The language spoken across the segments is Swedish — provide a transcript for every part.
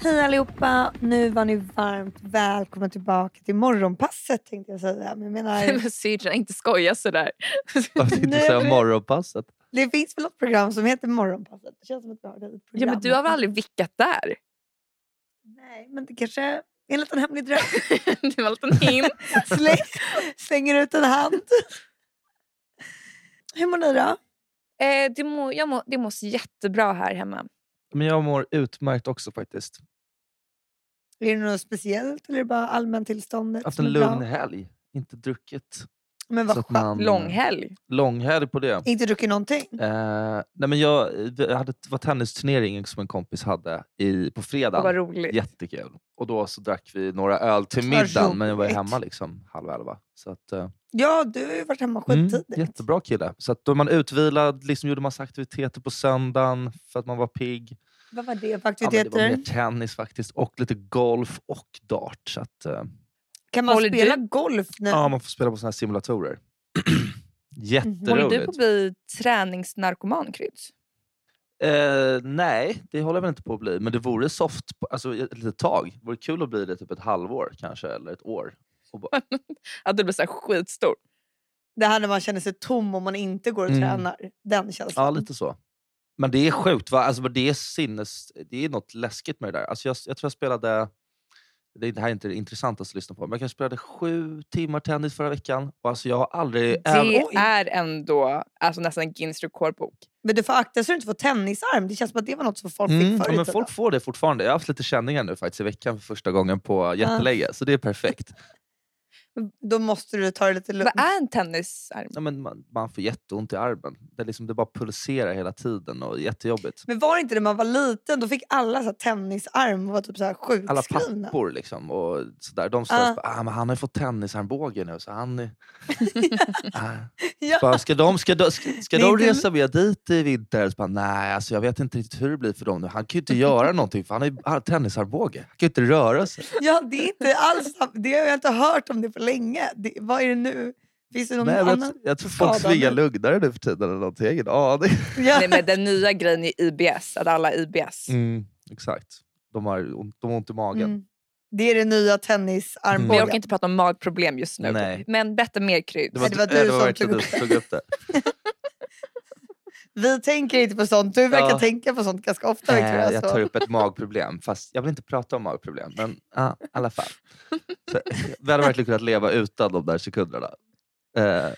Hej allihopa! Nu var ni varmt välkomna tillbaka till morgonpasset tänkte jag säga. Men jag menar, Men syrran, inte skoja sådär. Varför inte Nej, säga men- morgonpasset? det finns väl något program som heter Morgonpasset? Det känns som att vi har ett program. Ja, men du har väl aldrig vickat där? Nej, men det kanske är en liten hemlig dröm. det var en liten hint. Släng, slänger ut en hand. Hur mår ni då? Eh, det, må, jag må, det mås jättebra här hemma. Men jag mår utmärkt också faktiskt. Är det något speciellt eller är det bara allmäntillståndet? Jag har haft som en är bra? lugn helg. Inte druckit. Men vad Så att skönt. man- Långhelg. Långhelg på det. Inte druckit någonting? Eh, nej men jag, jag hade, det var tennisturnering som en kompis hade i, på Och vad fredagen. roligt. Jättekul. Och då så drack vi några öl till Vad middagen, men jag var ju roligt. hemma liksom halv elva. Så att, eh, Ja, du har ju varit hemma mm, skittidigt. jättebra kille. Så att då är man utvilad, liksom gjorde massa aktiviteter på söndagen för att man var pigg. Vad var det för Ja, men det aktiviteter? var mer tennis faktiskt, och lite golf och dart. Så att, eh, Kan man Håller du- spela golf nu? Ja, man får spela på såna här simulatorer. Håller du på att Jätteroligt. bli träningsnarkoman, Kryds? Eh, nej, det håller jag väl inte på att bli. Men det vore soft på- alltså, ett litet tag. Det vore kul att bli det typ ett halvår kanske, eller ett år. Och bara, Att du blir så här skitstor. Det här när man känner sig tom om man inte går och Mm. tränar. Den känslan. ja, Liksom. lite så. Men det är sjukt. Va? Alltså, men det, är sinnes, det är något läskigt med det där. Alltså, jag, jag tror jag spelade... Det det här är inte det intressantaste att lyssna på, men jag kanske spelade sju timmar tennis förra veckan. Och alltså, jag har aldrig... även- Det oj. är ändå alltså, nästan Guinness rekordbok. Men du får akta så du inte får tennisarm. Det känns som att det var något som folk Mm, fick förut. ja, men folk får det fortfarande. Jag har haft lite känningar nu faktiskt i veckan för första gången på jättelänge. Så det är perfekt. Då måste du ta det lite lugnt. Vad är en tennisarm? Ja, men man, man får jätteont i armen. Det, är liksom, det bara pulserar hela tiden och är jättejobbigt. Men var det inte när man var liten? Då fick alla så här tennisarm och var typ så här Alla sjukskrivna. pappor liksom, och sådär, de står Ja. och bara, ah, men han har ju fått tennisarmbåge nu så han är... Ah. Ja. Bara, ska de, ska de, ska, ska Det är de inte- resa med dit i vinter? Så bara, Nej, alltså, jag vet inte riktigt hur det blir för dem nu. Han kan ju inte göra någonting för han har ju han har tennisarmbåge. Han kan ju inte röra sig. ja, det är inte alls sam- Det har jag inte hört om det på länge. Det, vad är det nu? Finns det någon Nej, jag, annan? tror- jag tror folk skada nu? svingar lugnare nu för tiden eller någonting. Jag har Ingen aning. Ja. Nej, men den nya grejen är IBS, att alla har IBS. Mm, exakt. De har, ont- de har ont i magen. Mm. Det är det nya Men tennisarmbågen. Mm. jag orkar inte prata om magproblem just nu. Nej. Men berätta mer, Kryds. Det Nej, var, det var du eh, det var som verkligen tog du som tog upp det. Vi tänker inte på sånt. Du verkar Ja. tänka på sånt ganska ofta. Nej, Victoria, Eh, jag så. tar upp ett magproblem, fast jag vill inte prata om magproblem. Men ja, i alla fall. Så, vi hade verkligen kunnat leva utan de där sekunderna. Eh, nej,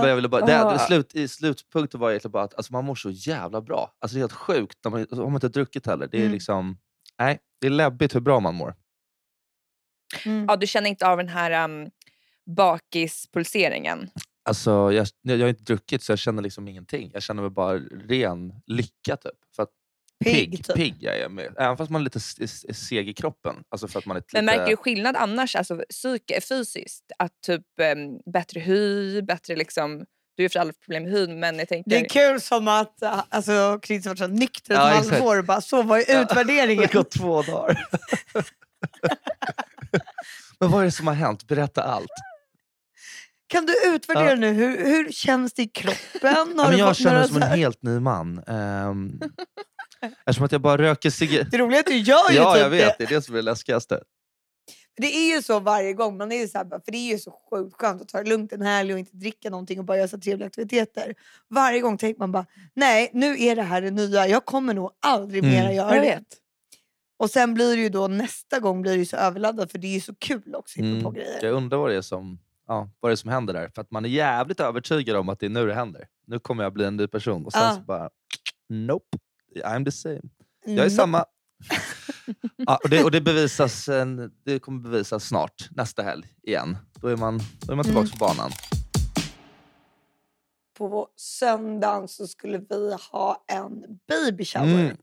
men jag ville bara, det, det, Ah. slut, i slutpunkten var egentligen bara att alltså, man mår så jävla bra. Alltså, det är helt sjukt när man, alltså, om man inte har druckit heller. Det är, Mm. liksom, nej, det är läbbigt hur bra man mår. Mm. Ja, du känner inte av den här um, bakispulseringen. Alltså, jag, jag har inte druckit så jag känner liksom ingenting. Jag känner mig bara ren lycka. Typ. För att pigg, pigg typ. jag är med. Även fast man är lite s- s- seg i kroppen. Alltså för att man är lite... Men märker du skillnad annars alltså, psyke, fysiskt? Att typ em, bättre hy, bättre liksom... Du har ju för alla problem med hyn, men jag tänker... Det är kul som att äh, alltså, Chris har varit så här nykter ett Ja, exakt. halvår och bara så var ju Det utvärderingen. har gått två dagar. Men vad är det som har hänt? Berätta allt. kan du utvärdera nu? Hur, hur känns det i kroppen? Ja, Har men du jag fått känner några mig som så en här- helt ny man. Um, eftersom att jag bara röker cigaretter. Det roliga är att du gör ju Ja, typ jag vet. det. Det är det som är det läskigaste. Det är ju så varje gång. Man är ju så här, bara- för det är ju så sjukt skönt att ta det lugnt en helg och inte dricka någonting och bara göra så här trevliga aktiviteter. Varje gång tänker man bara, nej nu är det här det nya. Jag kommer nog aldrig Mm. mera göra Jag det. vet. Och sen blir det ju då nästa gång blir det ju så överladdad för det är ju så kul också att hitta på Mm. grejer. Jag undrar vad det är som, ja, vad det är som händer där. För att man är jävligt övertygad om att det är nu det händer. Nu kommer jag bli en ny person. Och sen Ja. så bara, nope. I'm the same. Jag är Mm. samma. ja, och det, och det, bevisas, en- det kommer bevisas snart, nästa helg igen. Då är man, då är man tillbaka på banan. på söndagen så skulle vi ha en baby shower. Mm.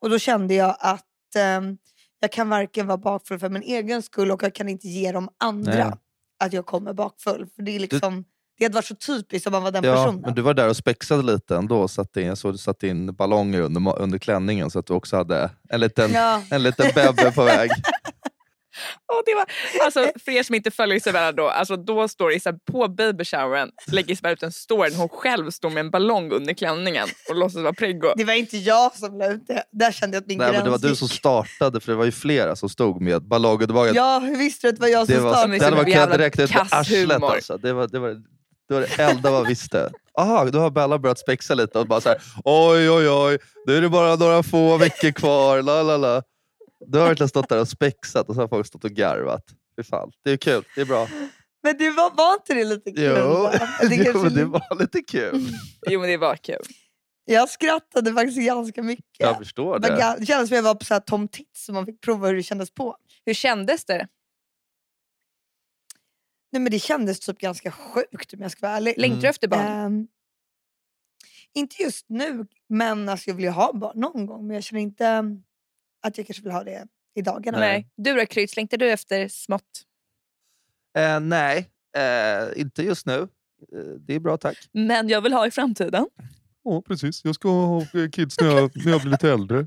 Och då kände jag att ehm, jag kan varken vara bakfull för min egen skull och jag kan inte ge de andra Nej. att jag kommer bakfull. För det är liksom, det hade varit så typiskt om man var den personen. men du var där och spexade lite ändå. Och satte in, jag såg du satte in ballonger under, ma- under klänningen så att du också hade en liten, Ja, en liten bebbe på väg. Och det var, alltså, för er som inte följer Isabella då, alltså, då står Isabella på babyshowern, lägger Isabella ut en story när hon själv står med en ballong under klänningen och låtsas vara preggo. Det var inte jag som la ut det. Där kände jag att min Nej, gräns men det var du gick. som startade, för det var ju flera som stod med ballong under magen. Ja, hur visste du att det var jag det som var, startade? startade. det hade varit Jävla kunnat räkna ut med kass arslet humor. alltså. Det var det, var, det var det enda man visste. Aha, då har Bella börjat spexa lite och bara så här, oj oj oj, nu är det bara några få veckor kvar. La, la, la. Du har verkligen stått där och spexat och så har folk stått och garvat. Fy fan. Det är kul, det är bra. Men det var, var inte det lite kul? Jo, va? Det Mm. jo kanske men det li- var lite kul. Jo men det var kul. Jag skrattade faktiskt ganska mycket. Jag förstår Men det. ga- Det kändes som jag var på så här Tom Tits och man fick prova hur det kändes på. Hur kändes det? Nej, men det kändes typ ganska sjukt om jag ska vara ärlig. Längtar du Mm. efter barn? Ehm, inte just nu, men alltså, jag vill ju ha barn någon gång. Men jag känner inte um, att jag kanske vill ha det i dagarna. nej. Du då Kryds, längtar du efter smått? Eh, nej, eh, inte just nu. Eh, det är bra tack. Men jag vill ha i framtiden. Ja, precis. Jag ska ha kids när jag, när jag blir lite äldre.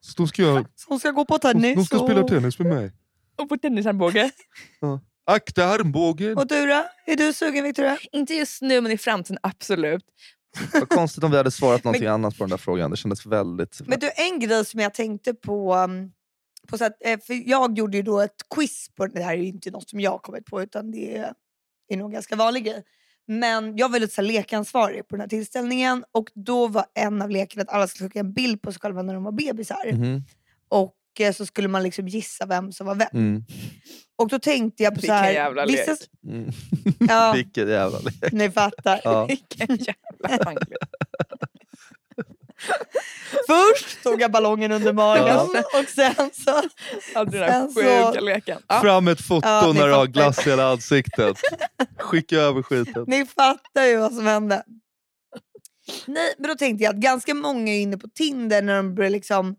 Så då ska jag Som ska gå på tennis. och... tennis med mig. Och på tennisarmbåge. Akta armbågen! och du då? Är du sugen Victoria? Inte just nu men i framtiden absolut. Vad konstigt om vi hade svarat någonting annat på den där frågan. Det kändes väldigt... Men du, en grej som jag tänkte på... um, på så att, eh, för jag gjorde ju då ett quiz. på Det här är ju inte något som jag har kommit på utan det är, är nog en ganska vanlig grej. Men jag var lite så här lekansvarig på den här tillställningen och då var en av lekarna att alla skulle skicka en bild på sig själva när de var bebisar. Mhm, Och eh, så skulle man liksom gissa vem som var vem. mm, Och då tänkte jag på så Vilken här... jävla vissa- lek. mm. Ja. Vilken jävla lek. Ni fattar. Ja. Vilken jävla tanke. Först tog jag ballongen under magen Ja. och sen så... Hade du den här Sen så- sjuka leken. Ja. Fram ett foto Ja, ni när du har fattar. glass i hela ansiktet. Skicka över skiten. Ni fattar ju vad som hände. Nej, men då tänkte jag att ganska många är inne på Tinder när de börjar liksom...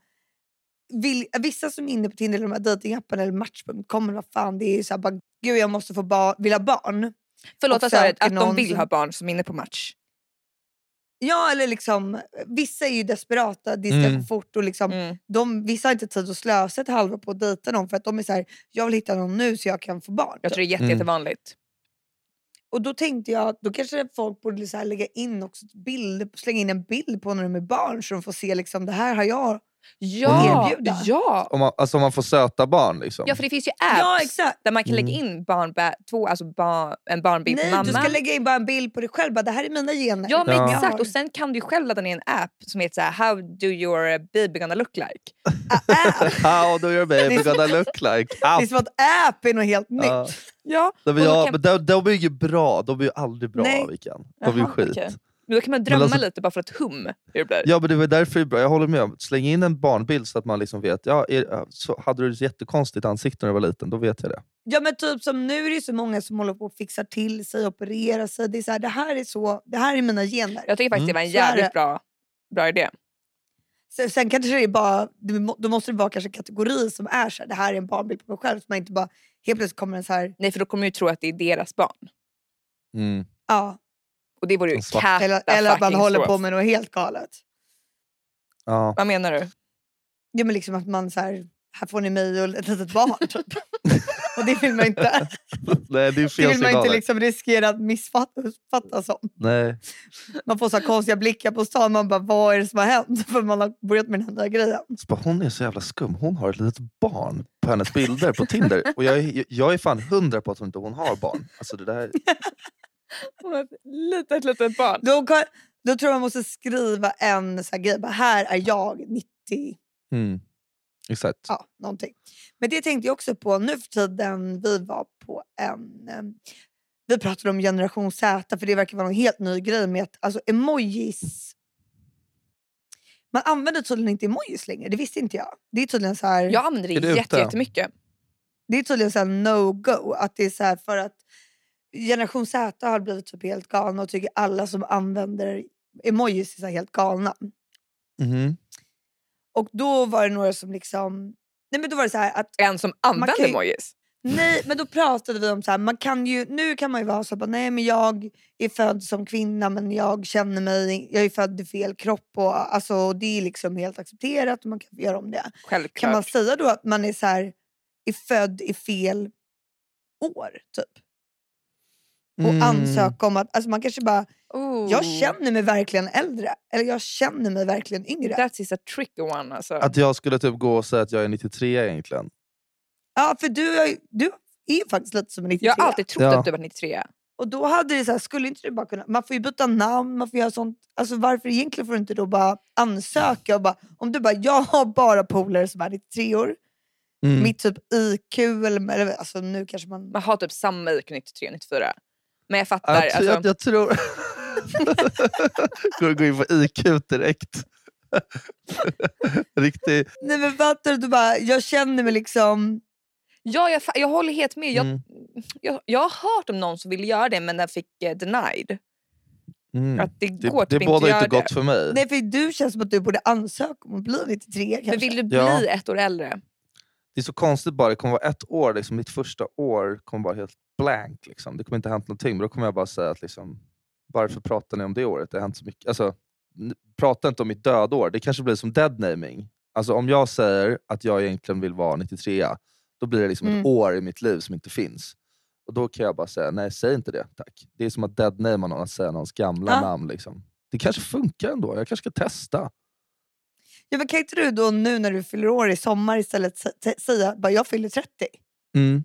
Vill, vissa som är inne på Tinder, eller de här dejtingapparna eller Match.com, eller vad fan, det är ju så här bara, gud jag måste få ba- vill ha barn. Förlåt, Och vad sa du? söker Att de någon vill som- ha barn som är inne på match? Ja, eller liksom, vissa är ju desperata, det ska Mm. gå fort och liksom Mm. de, vissa har inte tid att slösa ett halvår på att dejta någon för att de är så här, jag vill hitta någon nu så jag kan få barn. Jag tror det är jätte, Mm. jättevanligt. Och då tänkte jag att då kanske folk borde så här lägga in också ett bild, slänga in en bild på när de är barn så de får se liksom det här har jag. Ja, Erbjuda. ja. Om man, alltså om man får söta barn liksom. ja, för det finns ju Ja apps exakt. där man kan Mm. lägga in barn, ba- två, alltså barn, en barnbild på Nej mamma. du ska lägga in bara en bild på dig själv, bara, det här är mina gener. Ja, men Ja. exakt. Och sen kan du ju själv ladda ner en app som heter så här, How do your baby gonna look like? App. How do your baby gonna look like? Det är som att app är något helt nytt. Ja. Ja, De, Och då ja, kan- men de, de är ju bra, de är ju aldrig bra Nej. Vikan. De är ju Jaha, skit. okej. men då kan man drömma alltså- lite bara för ett hum hur det blir. Ja, men det var därför det är bra. Jag håller med. Släng in en barnbild så att man liksom vet. Ja, är, så hade du ett jättekonstigt ansikte när du var liten, då vet jag det. Ja men typ som nu är det ju så många som håller på och fixar till sig, opererar sig. Det är så här, det här är så, det här är mina gener. Jag tycker faktiskt Mm. det var en Så är jävligt det. bra, bra idé. Sen, sen kanske det är bara, det må- då måste det vara kanske en kategori som är så här, det här är en barnbild på mig själv. Så man inte bara, helt plötsligt kommer en så här, Nej, för då kommer du ju tro att det är deras barn. Mm. ja. Och det vore ju En svart- katta Eller, eller att man fucking håller så. på med något helt galet. Ja. Vad menar du? Ja men liksom att man så här, här får ni mig och ett litet barn typ. och det vill man inte. Nej, det är Det vill fel man signaler. inte liksom riskera att missuppfattas som. Nej. Man får så här konstiga blickar på stan. Man bara, vad är det som har hänt? För man har börjat med den här nya grejen. Så bara, hon är så jävla skum. Hon har ett litet barn på hennes bilder på Tinder. Och jag, är- jag är fan hundra på att hon inte hon har barn. Alltså det där... Ett litet, litet barn. Då, kan- då tror jag man måste skriva en så här grej. Bara, här är jag 90. mm. Exakt. ja, någonting. Men det tänkte jag också på nu för tiden. Vi var på en... em, Vi pratade om generation Z, för det verkar vara en helt ny grej med att alltså, emojis... Man använder tydligen inte emojis längre, det visste inte jag. Det är tydligen så här, Jag använder Är det det jätte, ute? jättemycket. det är tydligen så här no-go. Att det är så här för att generation Z har blivit typ helt galna och tycker alla som använder emojis är så här helt galna. Mhm. Och då var det några som liksom... Nej men då var det så här att En som Man använder kan ju- emojis. Nej, men då pratade vi om så här, man kan ju, nu kan man ju vara så här, bara, nej men jag är född som kvinna men jag känner mig, jag är född i fel kropp och alltså, det är liksom helt accepterat och man kan göra om det. Självklart. Kan man säga då att man är så här, är född i fel år. Typ. Och Mm. ansöka om att... Alltså man kanske bara, Oh. jag känner mig verkligen äldre. Eller jag känner mig verkligen yngre. That is a tricky one alltså. Att jag skulle typ gå och säga att jag är 93 egentligen. Ja, för du, har ju- du är ju faktiskt lite som en 93. jag har alltid trott Ja. att du var 93. Och då hade det så här, skulle inte du bara kunna... Man får ju byta namn, man får göra sånt. Alltså varför egentligen får du inte då bara ansöka? Och bara, om du bara, jag har bara polare som är 93 år. Mm. Mitt typ IQ eller... eller alltså nu kanske man... Man har typ samma IQ 93, 94. Men jag fattar. jag, tror- alltså, jag, jag tror... Går gå in på IQ direkt. Riktig... Nej men fattar du? du? bara, jag känner mig liksom... ja, jag, fa- jag håller helt med. Jag, Mm. jag, jag har hört om någon som ville göra det men den fick eh, denied. Mm. Att det Det, går typ det bådar inte att inte göra gott för mig. Nej för du känns som att du borde ansöka om att bli 93 kanske. det. Men vill du bli Ja. ett år äldre? Det är så konstigt bara. Det kommer vara ett år. Liksom, mitt första år kommer vara helt blank. Liksom. Det kommer inte ha hänt någonting. Men då kommer jag bara säga att liksom, varför pratar ni om det året? Det har hänt så mycket. Alltså, n- prata inte om mitt dödår. Det kanske blir som deadnaming. Alltså, om jag säger att jag egentligen vill vara 93 då blir det liksom ett Mm. år i mitt liv som inte finns. Och Då kan jag bara säga, nej säg inte det tack. Det är som att deadnama någon, att säga någons gamla Ja. namn. Liksom. Det kanske funkar ändå. Jag kanske ska testa. Ja, men kan inte du då nu när du fyller år i sommar istället sä- sä- säga bara jag fyller 30? Mm.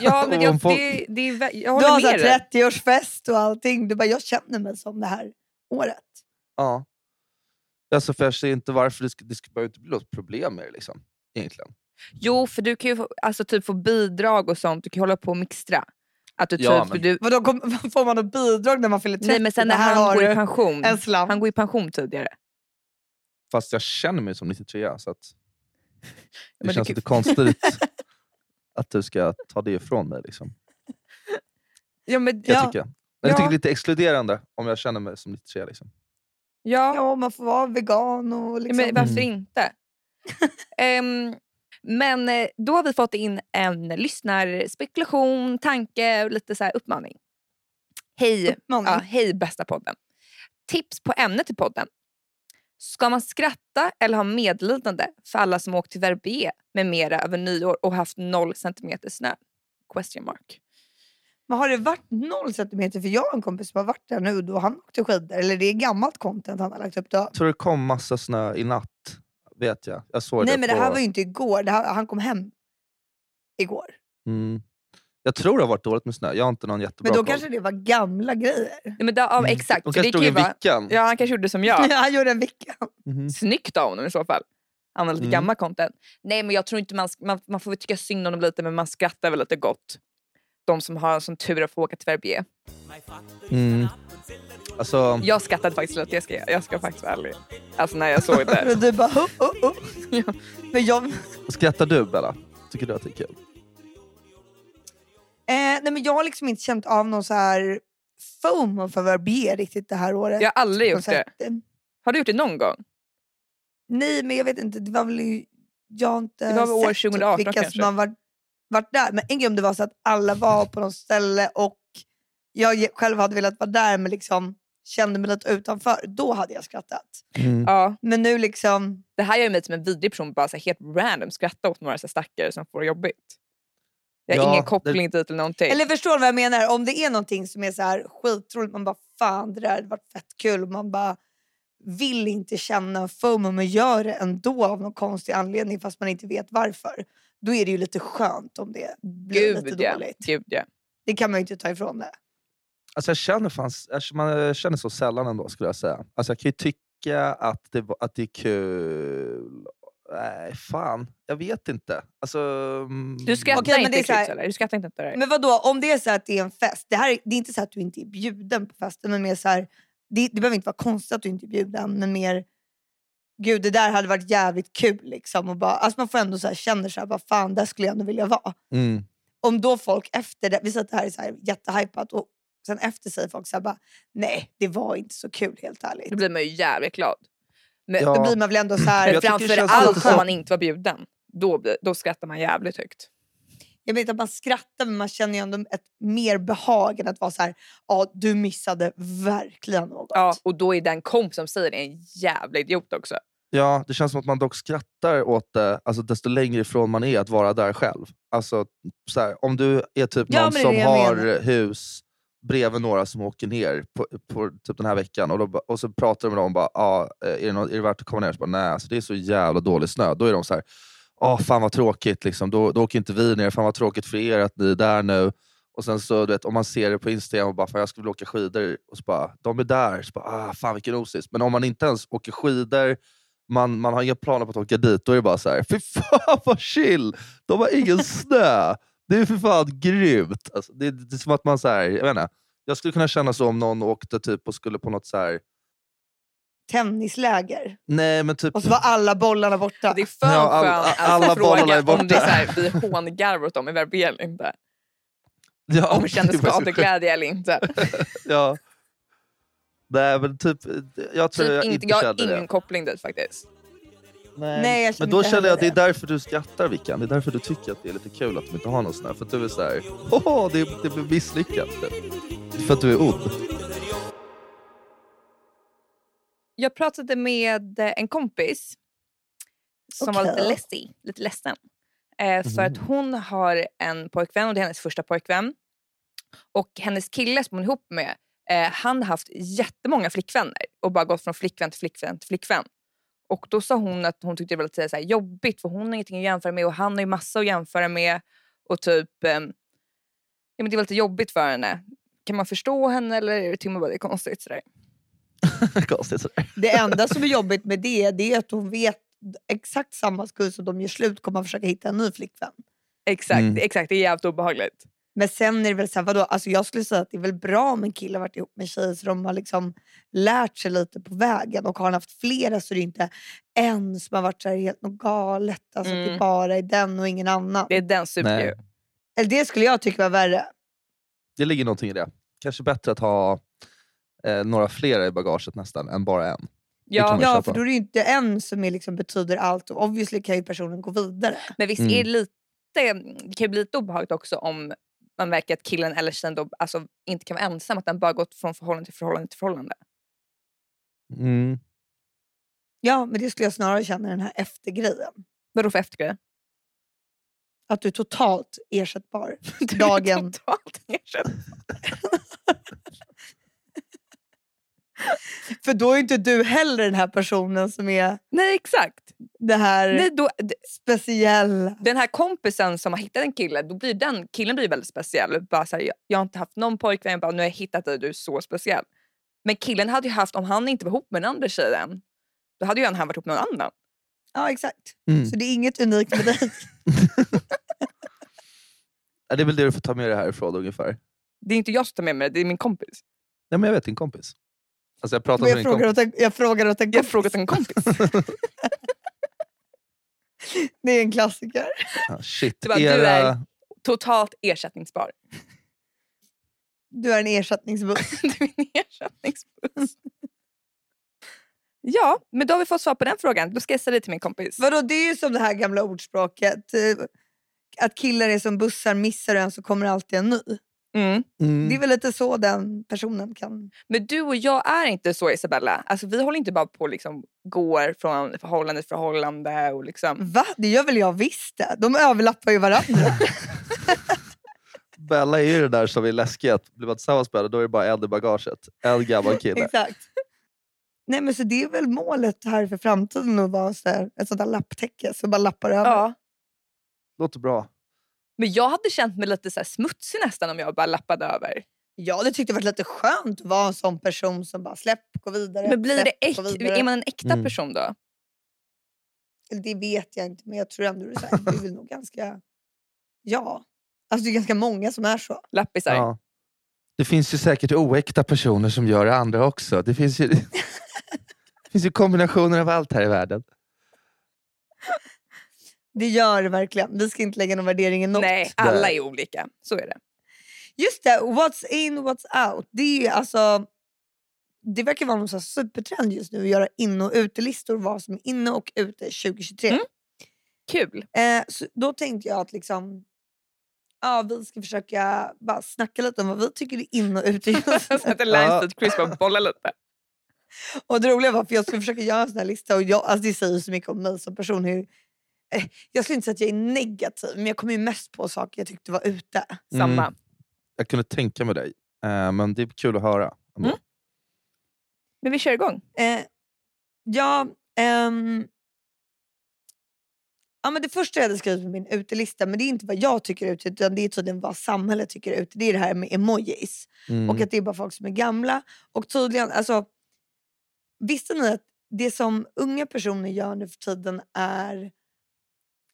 Ja, men Om jag, folk- det, det är, vä- jag Du har håller så med dig. här 30-årsfest och allting. Du bara jag känner mig som det här året. Ja. Alltså för jag ser inte varför det, ska, det ska, behöver inte bli något problem med det. Liksom, egentligen. Jo, för du kan ju få- alltså, typ få bidrag och sånt. Du kan ju hålla på och mixtra. Att du Ja, typ, men- du, Vadå, kom, får man något bidrag när man fyller 30? nej, men sen när Bara, här han har går i du pension. en slant. Han går i pension tidigare. Fast jag känner mig som 93 så att det Men du känns kan- lite konstigt att du ska ta det ifrån mig. Liksom. Ja, men, Jag, Ja. tycker. Men jag tycker Ja. det är lite exkluderande om jag känner mig som 93. Liksom. ja. Ja, man får vara vegan och liksom. Men varför Mm. inte? Ehm, men eh, då har vi fått in en lyssnarspekulation, tanke och lite så här uppmaning. Hej, ja, Mm. Uppmaning. hej bästa podden. Tips på ämne till podden. Ska man skratta eller ha medlidande för alla som åkt till Verbier med mera över nyår och haft noll centimeter snö? Question mark. Men har det varit noll centimeter? För jag har en kompis som har varit där nu då han åkte skidor. Eller det är gammalt content han har lagt upp då. Jag tror det kom massa snö i natt. Vet jag. Jag såg Nej det men på... det här var ju inte igår. Det här, han kom hem igår. mm. Jag tror det har varit dåligt med snö. Jag har inte någon jättebra Men då koll. kanske det var gamla grejer. Nej, men då, ja, Mm. exakt. De så kanske det kan drog ju en vara, vickan. ja, han kanske gjorde som jag. Han gjorde en vecka. Mhm. snyggt av honom i så fall. Använda lite Mm. gammal content. Nej men jag tror inte man, sk- man, man får väl tycka synd om dem lite men man skrattar väl lite gott. De som har en sån tur att få åka till Verbier. Mm. Alltså, Jag skrattade faktiskt lite, jag ska, jag ska faktiskt vara ärlig. Alltså när jag såg det. Och du bara oh, oh, oh. Ja. Men jag, eh, skrattar du Bella? Tycker du att det är kul? nej, men jag har liksom inte känt av någon så här FOMO för Verbier riktigt det här året. Jag har aldrig På gjort så här- det. Har du gjort det någon Mm. gång? Nej men jag vet inte, det var väl i- jag har inte Det var väl år sett typ 2018 vilka kanske. som har varit, varit där. Men en grej om det var så att alla var på något ställe och jag ge- själv hade velat vara där men liksom kände mig lite utanför. Då hade jag skrattat. Ja. Men nu liksom, Det här gör mig som en vidrig person bara så här, helt random skratta åt några så här stackare som får det jobbigt. Jag har Ja, ingen det- koppling dit eller någonting. eller förstår du vad jag menar? Om det är någonting som är så här skitroligt, man bara fan det där hade varit fett kul. Man bara vill inte känna en FOMO men gör det ändå av någon konstig anledning fast man inte vet varför. Då är det ju lite skönt om det blir Gud, lite ja. dåligt. Gud ja. Det kan man ju inte ta ifrån det. Alltså jag, känner fanns, jag- man, jag känner så sällan ändå skulle jag säga. Alltså jag kan ju tycka att det, var- att det är kul. Nej, fan. Jag vet inte. Alltså, mm, Du skrattar Okej, men inte det är så här- Kryds, eller? Du skrattar inte åt det där. Men vadå, om det är så att det är en fest. Det, här, är- det är inte så att du inte är bjuden på festen. Men mer så här, det, det behöver inte vara konstigt att du inte är bjuden. Men mer, gud det där hade varit jävligt kul. Liksom, och bara, alltså man får ändå så här, känner så här, vad fan där skulle jag ändå vilja vara. Mm. Om då folk efter det, vi säger att det här är så här, jättehypat. Och sen efter säger folk så här, bara, nej det var inte så kul helt ärligt. Då blir man ju jävligt glad. Men, Ja. Då blir man väl ändå så här, Men Jag tycker framför det känns allt lite om så- man inte var bjuden. Då, blir- då skrattar man jävligt högt. Jag vet att man skrattar men man känner ju ändå ett mer behag än att vara så här, ja du missade verkligen något. Ja, och då är den komp som säger det en jävla idiot också. Ja, det känns som att man dock skrattar åt det alltså, desto längre ifrån man är att vara där själv. Alltså, så här, om du är typ Ja, men någon det är som det jag har menar. hus bredvid några som åker ner på, på typ den här veckan och, då, ba- och så pratar de med dem och bara ah, är, det något, är det värt att komma ner? Så bara, Nej, alltså, det är så jävla dålig snö. Då är de så här, ah, fan vad tråkigt, liksom. då, då åker inte vi ner. Fan vad tråkigt för er att ni är där nu. Och sen så, du vet, om man ser det på Instagram och bara fan jag skulle vilja åka skidor och så bara, de är där. Så bara, ah, fan vilken osis. Men om man inte ens åker skidor, man, man har inga planer på att åka dit, då är det bara så här, fy fan vad chill! De har ingen snö! Det är för fan grymt! Alltså, det, det är som att man så här, jag vet inte, jag skulle kunna känna så om någon åkte typ och skulle på något så här, Tennisläger. nej men typ Och så var alla bollarna borta. Mm. Det är för Ja, all- skönt att alla bollarna fråga är borta. om det är så här, vi hångarvar åt dem i verbel eller inte. ja, Om vi känner det var så sjukt. skadeglädje eller inte. Ja. Nej men typ, jag tror Typ jag inte, inte jag har känner det. ingen koppling dit faktiskt. Nej, jag Men känner då inte känner jag att det är heller därför du skrattar Vickan. Det är därför du tycker att det är lite kul att de inte har någon snö. För att du är såhär, åh det, det blir misslyckat. För att du är ond. Jag pratade med eh, en kompis som var lite Okej. ledsig, lite ledsen. Eh, för att hon har en pojkvän och det är hennes första pojkvän. Och hennes kille som hon är ihop med, eh, han har haft jättemånga flickvänner och bara gått från flickvän till flickvän till flickvän. Och då sa hon att hon tyckte det var lite så här jobbigt för hon har ingenting att jämföra med och han har ju massa att jämföra med. Och typ, ehm, ja, men det var lite jobbigt för henne. Kan man förstå henne eller tycker man bara det är konstigt? Sådär. Konstigt sådär. Det enda som är jobbigt med det, det är att hon vet exakt samma sekund som de gör slut kommer man försöka hitta en ny flickvän. Exakt, Mm. exakt, det är jävligt obehagligt. Men sen är det väl så här, vadå? Alltså jag skulle säga att det är väl bra om en kille har varit ihop med tjejer så de har liksom lärt sig lite på vägen. Och har han haft flera så är det inte en som har varit så här helt något galet. Alltså att det Mm. bara är den och ingen annan. Det är den Typ Nej. supergrejen. Eller det skulle jag tycka var värre. Det ligger någonting i det. Kanske bättre att ha eh, några flera i bagaget nästan, än bara en. kan Ja, man- Ja, köpa. för då är det ju inte en som är liksom betyder allt. Och obviously kan ju personen gå vidare. men visst Mm. är det lite, det kan ju bli lite obehagligt också om man märker att killen eller tjejen då, alltså, inte kan vara ensam, att den bara gått från förhållande till förhållande till förhållande. Mm. Ja, men det skulle jag snarare känna den här eftergrejen. Vadå för eftergrej? Att du är totalt ersättbar. Du är Dagen. totalt erkänd. För då är inte du heller den här personen som är Nej, exakt. det här Nej, då, d- speciella. den här kompisen som har hittat en kille, då blir den killen blir väldigt speciell. Bara så här, jag, jag har inte haft någon pojkvän, jag bara, nu har jag hittat dig, du är så speciell. Men killen hade ju haft, om han inte var ihop med den andra tjejen, då hade ju han varit ihop med någon annan. Ja, exakt. Mm. Så det är inget unikt med dig. Ja, Det är väl det du får ta med dig härifrån ungefär. Det är inte jag som tar med mig det, det är min kompis. Nej, men jag vet din kompis. Alltså jag pratar Men jag, med din frågar kompis. åt en, jag frågar åt en Jag har kompis. frågat en kompis. Det är en klassiker. Ja, Ah, shit, Det var, du era... är- Totalt ersättningsbar. Du är en ersättningsbuss. Du är en ersättningsbuss. Ja, men då har vi fått svar på den frågan. Då ska jag säga det till min kompis. Vadå, det är ju som det här gamla ordspråket. eh, Att killar är som bussar, missar du en så kommer det alltid en ny. Mm. Det är mm. väl lite så den personen kan... Men du och jag är inte så Isabella. Alltså, vi håller inte bara på och liksom, går från förhållande till förhållande. Och liksom. Va? Det gör väl jag visst det. De överlappar ju varandra. Bella är ju det där som är läskigt. att Blir man tillsammans med henne, då är det bara en i bagaget. En gammal kille. Exakt. Nej, men så det är väl målet här för framtiden att vara så här, ett sånt där lapptäcke som bara lappar över. Ja. Låter bra. Men jag hade känt mig lite så här smutsig nästan om jag bara lappade över. Jag hade tyckt det varit lite skönt att vara en sån person som bara släpp, gå vidare. Men blir släpp, det gå äk- vidare. är man en äkta Mm. person då? Eller Det vet jag inte, men jag tror ändå det är, så här, det är väl nog ganska... Ja. Alltså det är ganska många som är så. Lappisar. Ja. Det finns ju säkert oäkta personer som gör det andra också. Det finns ju, det finns ju kombinationer av allt här i världen. Det gör det verkligen. Vi ska inte lägga någon värdering i något. Nej, alla är olika. Så är det. Just det, what's in what's out. Det, är ju alltså, det verkar vara någon sån här supertrend just nu att göra in och utelistor. Vad som är inne och ute 2023. Mm. Kul. Eh, så då tänkte jag att liksom, ja, vi ska försöka bara snacka lite om vad vi tycker är in och ute just Så nu. att en live street quiz bara bollar lite. Och det roliga var för jag skulle försöka göra en sån här lista och jag, alltså det säger så mycket om mig som person. Hur, eh, jag skulle inte säga att jag är negativ men jag kommer ju mest på saker jag tyckte var ute. Samma. Mm. Jag kunde tänka mig dig, eh, men det är kul att höra. ändå. Mm. Men vi kör igång. Eh, ja, ehm, ja, men det första jag hade skrivit på min utelista, men det är inte vad jag tycker är ute utan det är tydligen vad samhället tycker är ute. Det är det här med emojis. Mm. och att det är bara folk som är gamla. Och tydligen, alltså, visste ni att det som unga personer gör nu för tiden är...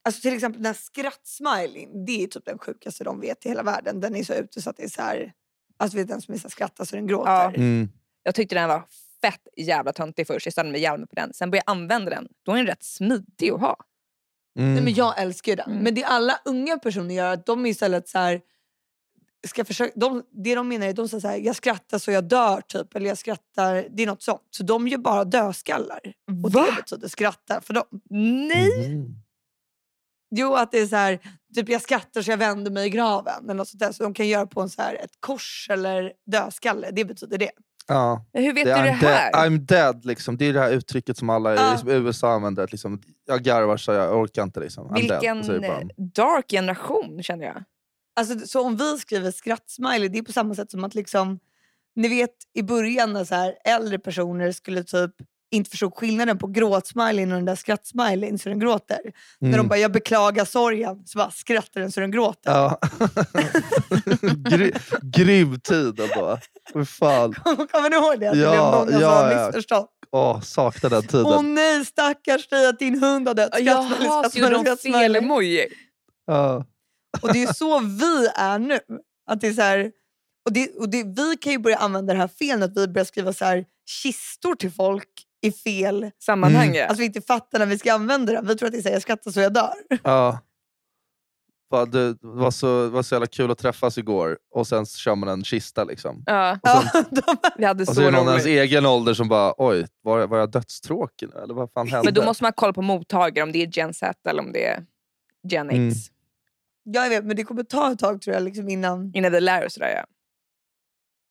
Alltså till exempel den här skrattsmileyn, det är typ den sjukaste de vet i hela världen. Den är så ute så att det är så här... Alltså vet du, den som är så här skrattar så den gråter. Ja. Mm. Jag tyckte den var fett jävla töntig först. Jag stannade mig jävla på den. Sen började jag använda den. Då är den rätt smidig att ha. Mm. Nej, men jag älskar ju den. Mm. Men det alla unga personer gör, att de är istället så här... Ska försöka, de, det de menar är att de säger så här, jag skrattar så jag dör typ. Eller jag skrattar, det är något sånt. Så de gör bara dödskallar. Och det betyder skratta för dem. Nej! Mm. Jo, att det är så här, typ jag skrattar så jag vänder mig i graven. Eller något sånt där. Så de kan göra på en så här, ett kors eller dödskalle. Det betyder det. Ja, Hur vet det du är det I'm, dead, här? I'm dead, liksom. det är det här uttrycket som alla i Ja. som USA använder. Att liksom, jag garvar så jag orkar inte. Liksom. I'm dead. Och så är Vilken det bara, eh, dark generation känner jag. Alltså, så om vi skriver skrattsmiley, det är på samma sätt som att liksom, ni vet i början när så här, äldre personer skulle typ inte förstod skillnaden på gråtsmileyn och den där skrattsmileyn så den gråter. När de mm. bara, jag beklagar sorgen, så bara skrattar den så den gråter. Ja. Gry, grym tid ändå. Fy fan. Kommer ni ihåg det? Att det Ja, blev många som ja, var ja. missförstånd. Åh, saknar den tiden. Åh nej, stackars dig att din hund har dött. Skrattsmiley, Jaha, så skrattsmiley, gjorde de fel skrattsmiley. emoji? Mm. Ja. Och det är ju så vi är nu. Att det är så här, och det, och det, vi kan ju börja använda det här fel att vi börjar skriva så här, kistor till folk i fel... Sammanhang ja. Alltså vi inte fattar när vi ska använda det. Vi tror att det är så här, jag skrattar så jag dör. Ja. Fan, Det var så, var så jävla kul att träffas igår och sen kör man en kista. Liksom. ja. Ja, de, Vi hade Och så så Alltså, är det någon i ens roligt. egen ålder som bara, oj, var, var jag dödstråkig nu? Eller vad fan hände? Men då måste man kolla på mottagare om det är Gen Z eller om det är Gen X. Mm. jag vet, men det kommer ta ett tag tror jag liksom innan... Innan vi lär oss det där, ja.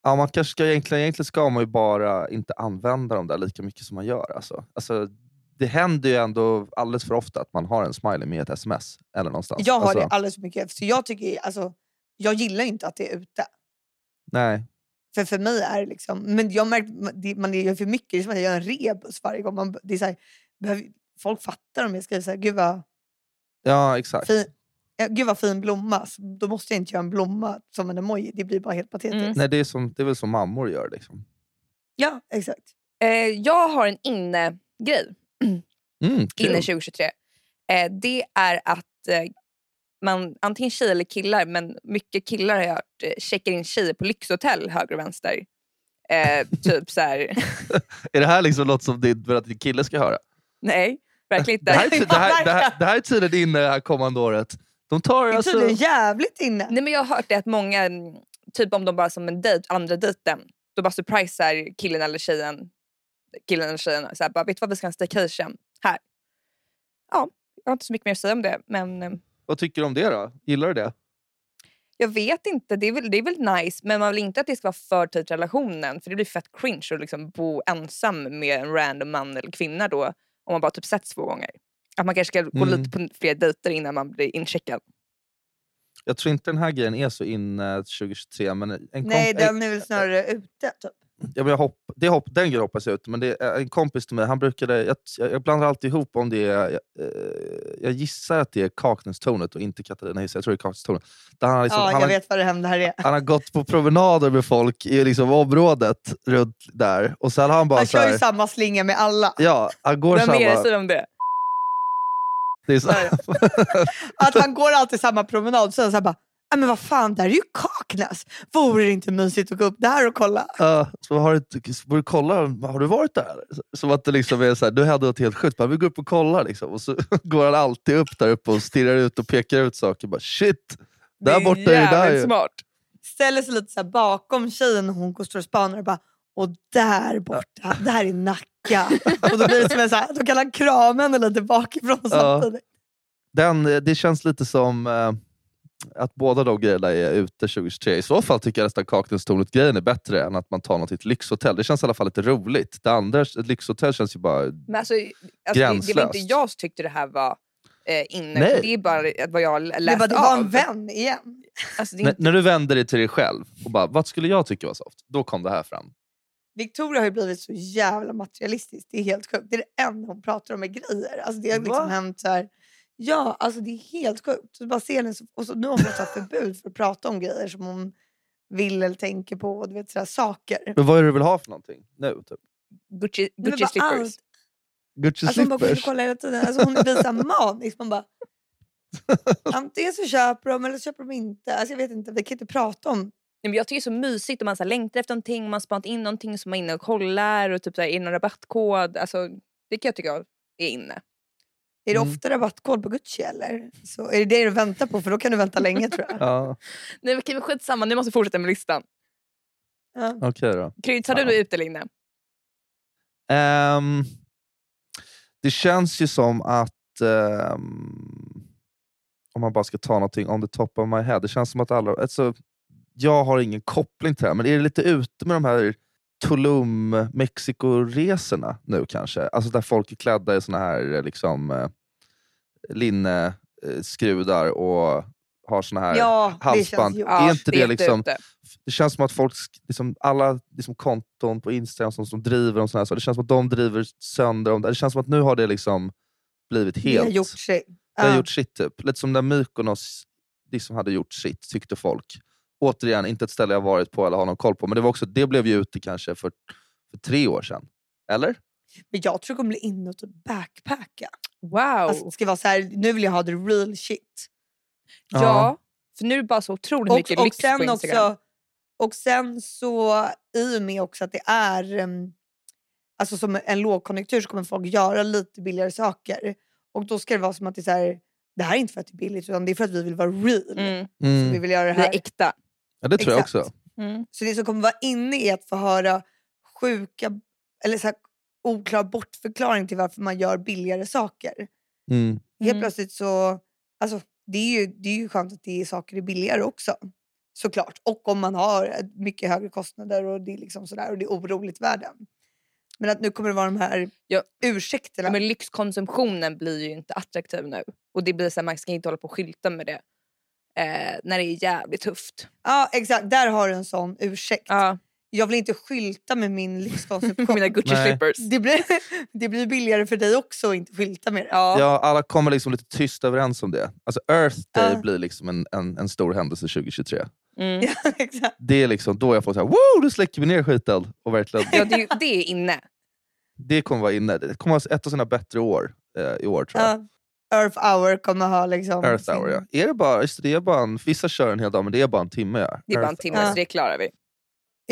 Ja, man kanske ska, egentligen, egentligen ska man ju bara inte använda dem där lika mycket som man gör. Alltså. Alltså, det händer ju ändå alldeles för ofta att man har en smiley med ett sms. Eller någonstans. Jag har alltså, det alldeles för mycket. Så jag, tycker, alltså, jag gillar ju inte att det är ute. Nej. För för mig är det liksom... Men jag märkt, det, man gör för mycket. Det är som att jag gör en rebus varje gång. Man, det är så här, behöver, folk fattar om jag skriver så här, gud vad Ja, exakt. fin, ja, gud vad fin blomma. Så Då måste jag inte göra en blomma som en emoji. Det blir bara helt patetiskt. Mm. Nej, det, är som, det är väl som mammor gör. Liksom. Ja, exakt. Eh, jag har en inne-grej. Mm, kul. innan 2023. Eh, det är att eh, man, antingen tjejer eller killar, men mycket killar har jag hört, eh, checkar in tjejer på lyxhotell höger och vänster. Eh, typ så här, Är det här liksom något som din, för att din kille ska höra? nej, verkligen Det här, är inte. ty- det, här, det, här, det här är tiden inne det här kommande året. De tar Det är alltså... tydligen jävligt inne. nej men jag har hört det att många, mm, typ om de bara som en dejt, andra dejten, då bara surprisar killen eller tjejen, killen eller tjejen, så här, bara, vet du vad vi ska ha en staycation här. Ja, jag har inte så mycket mer att säga om det, men eh, Vad tycker du om det då? Gillar du det? Jag vet inte, det är, väl, det är väl nice men man vill inte att det ska vara för tidigt i relationen för det blir fett cringe att liksom bo ensam med en random man eller kvinna då om man bara typ sett två gånger. Att man kanske ska gå Mm. lite på fler dejter innan man blir incheckad. Jag tror inte den här grejen är så inne 2023. Men en komp- Nej, en- den är väl snarare ute. Typ. Ja, men jag hopp, det hopp, den grejen hoppas jag ut. Men det är eh, en kompis till mig, han brukade... Jag, jag, jag blandar alltid ihop om det är... Jag, eh, jag gissar att det är Kaknästornet och inte Katarina Hisse. Jag tror det är Kaknästornet. Där han, har liksom, ja, han, jag har, vet vad det händer här är. han har gått på promenader med folk i liksom området runt där. Och sen har han bara Han så kör ju här, samma slinga med alla. Ja, han går Vem är det samma... säger om det? Det är så, Att han går alltid samma promenad. Sen så här bara, "Ah, men vad fan, där är ju Kaknäs. Vore det inte mysigt att gå upp där och kolla? Ja, så har du, så får du kolla, har du varit där? Som att det liksom är så här, du hade något helt sjukt, bara, vi går upp och kollar. Liksom. Och så går han alltid upp där uppe och stirrar ut och pekar ut saker. Bara, Shit, där borta är det där jävligt ju. smart. Ställer sig lite så här bakom tjejen när hon går och står och spanar och bara, och där borta, där är Nacka. och då blir det som en så här, då kan han krama henne lite bakifrån samtidigt. Den, eh, det känns lite som eh, att båda de grejerna är ute 2023. I så fall tycker jag nästan Kaknästornet-grejen är bättre än att man tar något i ett lyxhotell. Det känns i alla fall lite roligt. Det andra, ett lyxhotell känns ju bara... Men alltså, alltså, det, det var Gränslöst. inte jag som tyckte det här var eh, inne. Nej. utan Det är bara att vad jag har läst Det var, det var en av. vän igen. Alltså, det är N- inte- när du vänder dig till dig själv och bara, vad skulle jag tycka var soft? Då kom det här fram. Victoria har ju blivit så jävla materialistisk. Det är helt sjukt. Det är det enda hon pratar om är grejer. Alltså det har liksom Va? hänt så här. Ja, alltså det är helt sjukt. Så du bara ser henne så, och så, nu har hon fått så här förbud för att prata om grejer som hon vill eller tänker på. Och du vet, så här, saker. Men vad är det du vill ha för någonting nu? Typ? Gucci, Nej, men Gucci bara slippers. allt. Gucci Alltså hon bara går in och slippers? kollar hela tiden. Alltså hon blir så här manisk. Man bara, antingen så köper de eller så köper de inte. Alltså jag vet inte, vi kan inte prata om Nej, men jag tycker det är så mysigt om man så här, längtar efter någonting, man spanar in någonting som man är inne och kollar och typ så här, är det någon rabattkod. Alltså, det kan jag tycka är inne. Är det Mm. ofta rabattkod på Gucci eller? Så är det det du väntar på? För då kan du vänta länge tror jag. Ja, Nej men okej, men skitsamma, nu måste jag fortsätta med listan. Ja. okej då. Krydd, tar Ja. du något ut eller inne? Ehm, det känns ju som att, ehm, om man bara ska ta någonting on the top of my head, det känns som att alla... Alltså, jag har ingen koppling till det här, men är det lite ute med de här Tulum-Mexiko-resorna nu kanske? Alltså där folk är klädda i såna här eh, liksom, eh, linne, eh, skrudar och har såna här... Ja, det känns halsband. ju. Ja. Är inte det liksom- jätteute. Det känns som att folk, sk- liksom, alla liksom, konton på Instagram som, som driver om såna här saker, det känns som att de driver sönder om det. Det känns som att nu har det liksom blivit Det helt... har gjort sig. det har Ja. gjort sitt, typ. Lite som när Mykonos liksom hade gjort sitt, tyckte folk. Återigen, inte ett ställe jag varit på eller har någon koll på, men det, var också, det blev ju ute kanske för, för tre år sedan. Eller? Men jag tror det kommer bli inne och typ backpacka. Wow! Alltså, det ska vara så här, nu vill jag ha the real shit. Alltså, ja. Ja. för nu är det bara så otroligt mycket Och, och, lyx på sen Instagram. också, och sen så, i och med också att det är em, alltså som en lågkonjunktur så kommer folk göra lite billigare saker. Och då ska det vara som att det är så här, det här är inte för att det är billigt utan det är för att vi vill vara real. Mm. Så vi Mm. vill göra det Det här. är äkta. ja, det tror Exakt. jag också. Mm. Så det som kommer vara inne är att få höra sjuka eller så här, oklar bortförklaring till varför man gör billigare saker. Mm. Helt Mm. plötsligt så, alltså det är, ju, det är ju skönt att det är saker är billigare också. Såklart. Och om man har ett mycket högre kostnader och det är liksom sådär och det är oroligt i världen. Men att nu kommer det vara de här Ja. ursäkterna. Ja, men lyxkonsumtionen blir ju inte attraktiv nu. Och det blir så här, man ska inte hålla på och skylta med det. Eh, när det är jävligt tufft. Ja exakt, där har du en sån ursäkt. Ja. Jag vill inte skylta med min lyxkonsumtion. Mina Gucci Nej. slippers. det, blir, det blir billigare för dig också att inte skylta med det. Ja. Ja, alla kommer liksom lite tyst överens om det. Alltså Earth Day Ja. blir liksom en, en, en stor händelse 2023. Mm. Ja, exakt. det är liksom då jag får säga wow, nu släcker vi ner skiten. Och verkligen, Ja, det, är ju- det är inne. det kommer vara inne. Det kommer vara ett av sina bättre år eh, i år tror jag. Ja. Earth hour kommer ha liksom... Earth hour ja. Är det bara, just det, det är bara en, vissa kör en hel dag men det är bara en timme. Ja. Det är bara en Earth timme, Ja. så det klarar vi.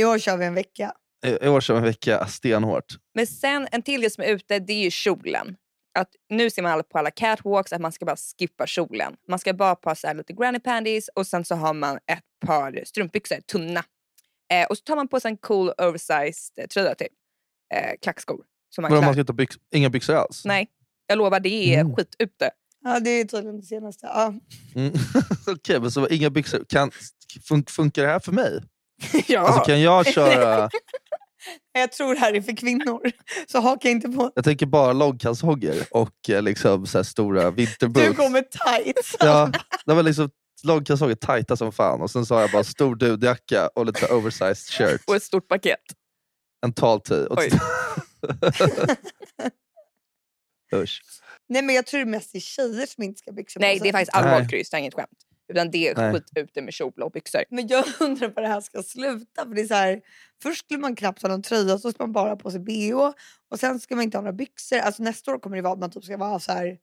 I år kör vi en vecka. hour. I år kör vi en vecka stenhårt. Men sen en till grej som är ute, det är ju kjolen. Att nu ser man alla på alla catwalks att man ska bara skippa kjolen. Man ska bara ha så här lite granny panties och sen så har man ett par strumpbyxor, tunna. Eh, och så tar man på sig en cool oversized eh, tröja till. Eh, klackskor. Som man Vadå, man klär. ska inte ha byx, inga byxor alls? Nej, jag lovar det är Mm. skit ute. Ja, det är tydligen det senaste. Ja. Mm. Okej, men så inga byxor. Kan, fun, funkar det här för mig? ja. Alltså, kan jag köra, Jag tror det här är för kvinnor, så haka inte på. jag tänker bara loggkalsonger och eh, liksom, så här stora vinterboots. Du kommer tight. Ja, det var liksom långkalsonger tajta som fan och sen så har jag bara stor dudjacka och lite så här oversized shirt. Och ett stort paket. En tal tee. Och- Oj. Usch. Nej, men jag tror det mest är tjejer som inte ska ha byxor på Nej, sig. det är faktiskt Nej. allvarligt kryss, det är inget skämt. Utan det är Nej. skit ute med kjol och byxor. Men jag undrar var det här ska sluta. För det är så här, först skulle man knappt ha någon tröja, så ska man bara ha på sig bh och sen ska man inte ha några byxor. Alltså, nästa år kommer det vara att man typ ska vara så här,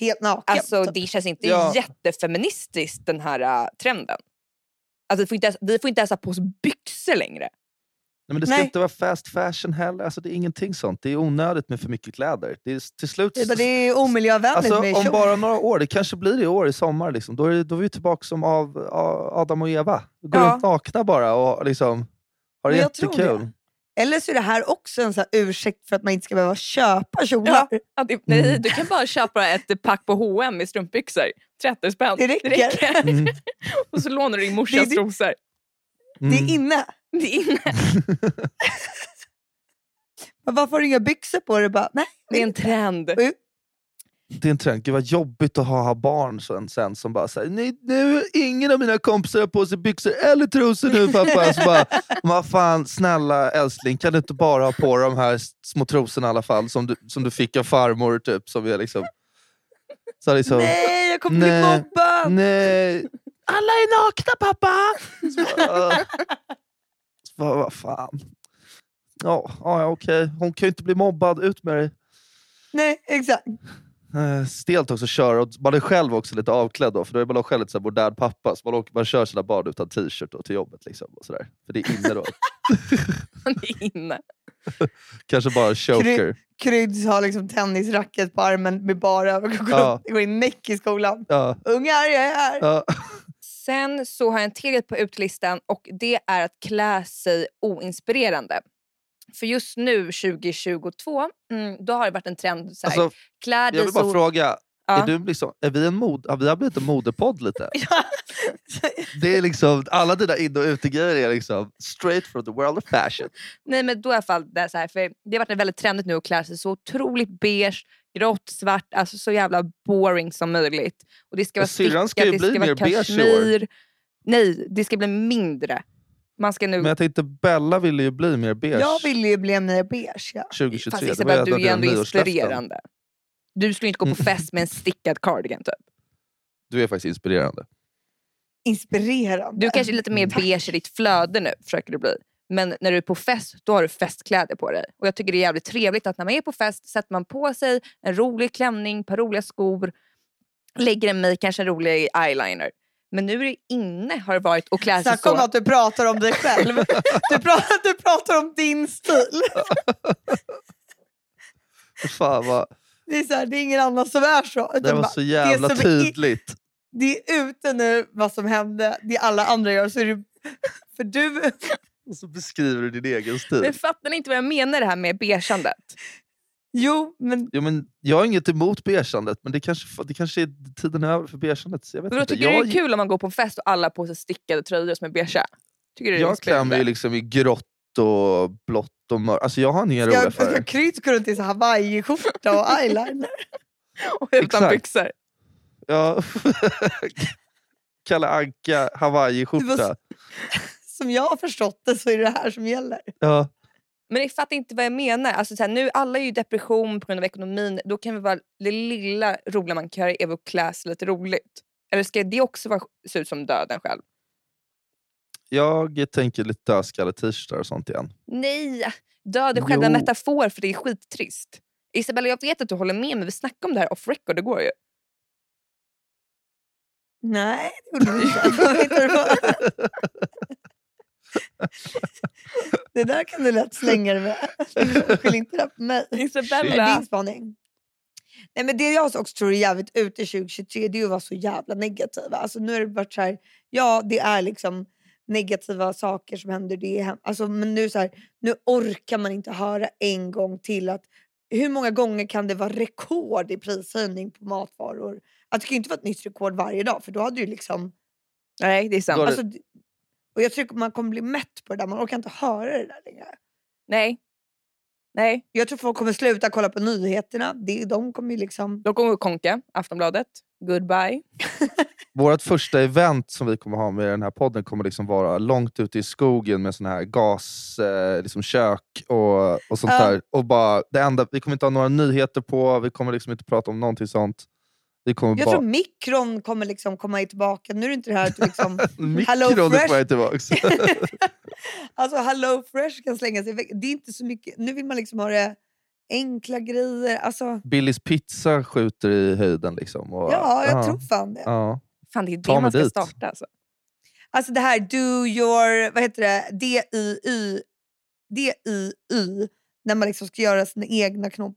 helt naken. Alltså typ. det känns inte Ja. jättefeministiskt den här äh, trenden. Alltså, vi, får inte ens, vi får inte ens ha på oss byxor längre. Nej, men det ska Nej. inte vara fast fashion heller. Alltså, det är ingenting sånt. Det är onödigt med för mycket kläder. Det är s- till slut... Det är bara- Det är omiljövänligt Alltså, med om kjol. bara några år, det kanske blir i år i sommar, liksom. då, är, då är vi tillbaka som av A- Adam och Eva. Går Ja. runt nakna bara och liksom, har det Men jag tror jättekul. det. Eller så är det här också en så här ursäkt för att man inte ska behöva köpa kjolar. Att, det- nej, Mm. Du kan bara köpa ett pack på H&M i strumpbyxor 30 spänn. Det räcker. Mm. Och så lånar du din morsas Det- det- rosor. Det Mm. är inne. Det är inne. Men varför har du inga byxor på dig? Bara, nej, Det är en trend. Det är en trend. Gud vad jobbigt att ha, ha barn sen, sen som bara säger nej nu ingen av mina kompisar har på sig byxor eller trosor nu pappa. Så bara, vad fan snälla älskling kan du inte bara ha på de här s- små trosorna i alla fall som du, som du fick av farmor typ. Som är liksom, så här liksom, nej. nej jag kommer bli Nej. mobbad. Alla är nakna pappa! Så bara, "Åh." så bara, vad fan. Ja, ja okej. Hon kan ju inte bli mobbad. Ut med dig. Nej, exakt. Eh, Stelt också att köra, och man är själv också lite avklädd då, för då är man själv lite så här modern pappa. Så man, åker, man kör sina barn utan t-shirt då, till jobbet. Liksom, och så där. För det är inne då. Det är inne. Kanske bara en choker. Kryds har liksom tennisracket på armen med bara överkropp. Ja. Går in näck i skolan. Ja, Ungar, jag är här. ja. Sen så har jag en till grej på utelistan och det är att klä sig oinspirerande. För just nu 2022, mm, då har det varit en trend. Så här, Alltså, klär jag dig vill bara så... fråga, Ja. är, du liksom, är vi en mod, har vi har blivit en modepodd lite? Ja. Det är liksom, alla dina in och utegrejer är liksom straight from the world of fashion. Nej men då i alla fall det är så här, för det har varit väldigt trendigt nu att klä sig så otroligt beige, grått, svart, alltså så jävla boring som möjligt. Och det ska Men vara syrran stickat, ska ju det bli ska vara mer beige i år. kashmir. Nej, det ska bli mindre. Man ska nu... Men jag tänkte, Bella ville ju bli mer beige Jag ville ju bli en ny beige. Ja. 2023. Fast Det var Isabel, ett du är av ju dina ändå nyårslöften. inspirerande. Du skulle inte gå på fest med en stickad cardigan typ. Du är faktiskt inspirerande. Inspirerande. Du kanske är lite Mm. mer beige i ditt flöde nu, försöker du bli. Men när du är på fest, då har du festkläder på dig. Och jag tycker det är jävligt trevligt att när man är på fest sätter man på sig en rolig klänning, ett par roliga skor, lägger en make, kanske en rolig eyeliner. Men nu är det inne har det varit att klä sig Snacka om så. att du pratar om dig själv. Du pratar, du pratar om din stil. Fan vad, Det är, så här, det är ingen annan som är så. det Utan var bara, så jävla som är- tydligt. det är ute nu vad som hände, det alla andra gör. Så är det, för du, Och så beskriver du din egen Men stil. fattar ni inte vad jag menar det här med beigeandet? jo, men Jo, men jag har inget emot beersandet, men det kanske, det kanske är tiden är över för beersandet. så Jag vet Men då inte. tycker jag... Jag, det är kul om man går på en fest och alla har på sig stickade tröjor som är beigea. Tycker du det är jag klär mig ju inspirerande? liksom i grått och blått och mörkt. Alltså jag har inga roliga jag, ska färger. Kryds gå runt i så här hawaiiskjorta och eyeliner? Och utan liksom- Exakt. byxor. Ja. Kalle Anka Det var hawaiiskjorta. så- Som jag har förstått det så är det det här som gäller. Ja. Men ni fattar inte vad jag menar. Alltså, så här, nu alla är ju i depression på grund av ekonomin. Då kan vi vara det lilla roliga man kan göra är väl att klä sig lite roligt. Eller ska det också vara, se ut som döden själv? Jag tänker lite dödskalle-t-shirtar och sånt igen. Nej, döden själv är en Jo. metafor för det är skittrist. Isabella, jag vet att du håller med men vi snackade om det här off record igår ju. Nej, det gjorde vi inte. Jag vet inte vad det var. Det där kan du lätt slänga dig med. Skyll inte det här på mig. Shit. Det är Isabella, din spaning. Nej, men det jag också tror är jävligt ute 2023 det är att vara så jävla negativa. Alltså, nu har det varit så här, ja det är liksom negativa saker som händer. Det är, hem- alltså, men nu, så här, nu orkar man inte höra en gång till att hur många gånger kan det vara rekord i prishöjning på matvaror? Att det kan ju inte vara ett nytt rekord varje dag för då hade du liksom... nej det är sant. Då- Var det- Alltså, det- och jag tror man kommer bli mätt på det där, man orkar inte höra det där längre. Nej. Nej, Jag tror folk kommer sluta kolla på nyheterna. Det, de kommer ju liksom... då kommer vi konka, Aftonbladet. Goodbye. Vårt första event som vi kommer ha med den här podden kommer liksom vara långt ute i skogen med sån här gas, eh, liksom kök och, och sånt Ja. där. Och bara, det enda, vi kommer inte ha några nyheter på, vi kommer liksom inte prata om någonting sånt. Vi kommer Jag bara... tror mikron kommer liksom komma tillbaka. Nu är det inte det här att du liksom... Hello Mikron är Fresh. på väg tillbaks. alltså Hello Fresh kan slänga sig iväg. Det är inte så mycket... Nu vill man liksom ha det enkla grejer. Alltså, Billys pizza skjuter i höjden. Liksom och, ja, jag tror fan det. Ja. Fan det är Ta det man mig ska dit. starta alltså. Alltså det här do your... Vad heter det? D-I-Y. D-I-Y. När man liksom ska göra sina egna knop...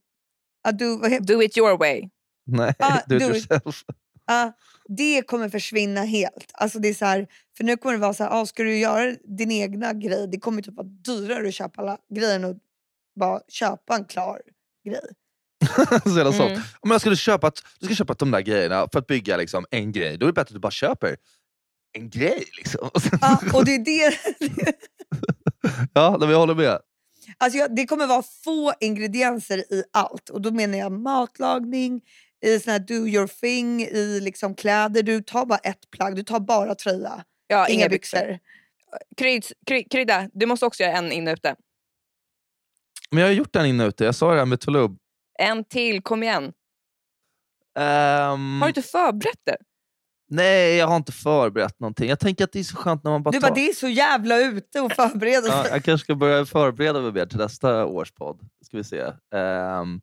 Ah, do, vad heter, Do it your way. Nej, Ah, do it do it. yourself. ah, det kommer försvinna helt. Alltså det är så här, för nu kommer det vara så här, ah, ska du göra din egna grej, det kommer typ vara dyrare att köpa alla grejer än att bara köpa en klar grej. så jävla soft. Mm. Om jag skulle köpa, ett- du ska köpa de där grejerna för att bygga liksom, en grej, då är det bättre att du bara köper en grej. Liksom. Och sen- Ja, och det är det. ja, nej, men jag håller med. Alltså jag, det kommer vara få ingredienser i allt. Och då menar jag matlagning, i sån här do your thing, i liksom kläder. Du tar bara ett plagg, du tar bara tröja. Ja, inga byxor. Kryds, kry, krydda, du måste också göra en inne ute. Men jag har gjort den inne ute, jag sa det här med Tulub. En till, kom igen. Ehm, Har Mm. du inte förberett det? Nej, jag har inte förberett någonting. Jag tänker att det är så skönt när man bara Du tar... bara, det är så jävla ute och förbereda Ja, sig. jag kanske ska börja förbereda mig mer till nästa års podd. Ska vi se. Ehm,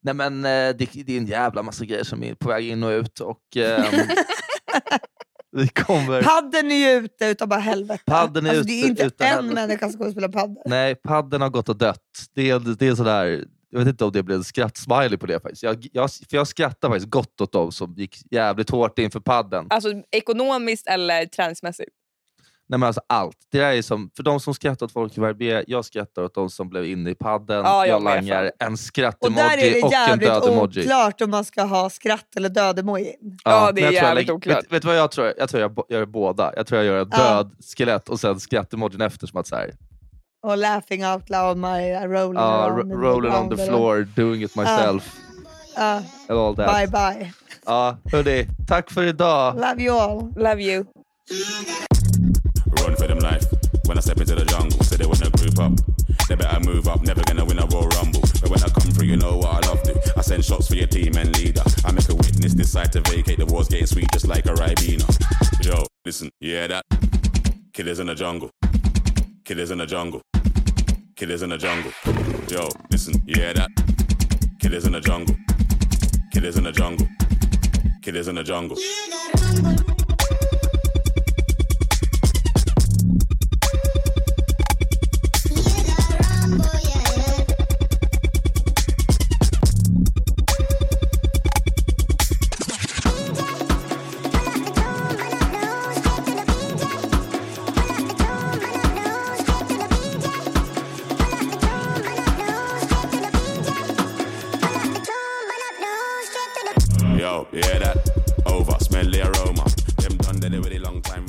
nej men, eh, det, det är en jävla massa grejer som är på väg in och ut. Och, ehm, vi kommer... Padden är ju ute utav bara helvete. Padden är alltså, ute det är inte utan en helvete. människa som kommer att spela padden. Nej, padden har gått och dött. Det, är- det är sådär, jag vet inte om det blev en skrattsmiley på det faktiskt. Jag, jag, för jag skrattar faktiskt gott åt dem som gick jävligt hårt inför padden. Alltså ekonomiskt eller träningsmässigt? Nej, men alltså allt. Det där är som, för de som skrattar åt folk i Verbier, jag skrattar åt de som blev inne i padden. Ja, jag jag med, langar Och en där är skratt-emoji det och, en jävligt död-emoji. oklart om man ska ha skratt eller död-emojin. Ja, det är men jag tror jag jävligt lägger- oklart. Vet, vet du vad jag tror? Jag tror jag bo- gör båda. Jag tror jag gör en Ja. död skelett och sen skrattemorgon efter. Som att så här, Och laughing out loud, my uh, rolling ah, around. in ro- the rolling on ground the eller- floor, doing it myself. Ja, and all that. bye bye. Ja, hörni, tack för idag. Love you all. Love you. Run for them life. When I step into the jungle, say they wanna group up. They better move up, never gonna win a Royal Rumble. But when I come through, you know what I love to. I send shots for your team and leader. I make a witness decide to vacate. The war's getting sweet just like a Ribena. Yo, listen, yeah, that. Killers in the jungle. Killers in the jungle. Killers in the jungle. Yo, listen, yeah, that. Killers in the jungle. Killers in the jungle. Killers in the jungle. Straight to the Yo, yeah, that. Over, smell the aroma. Them done that they really long time.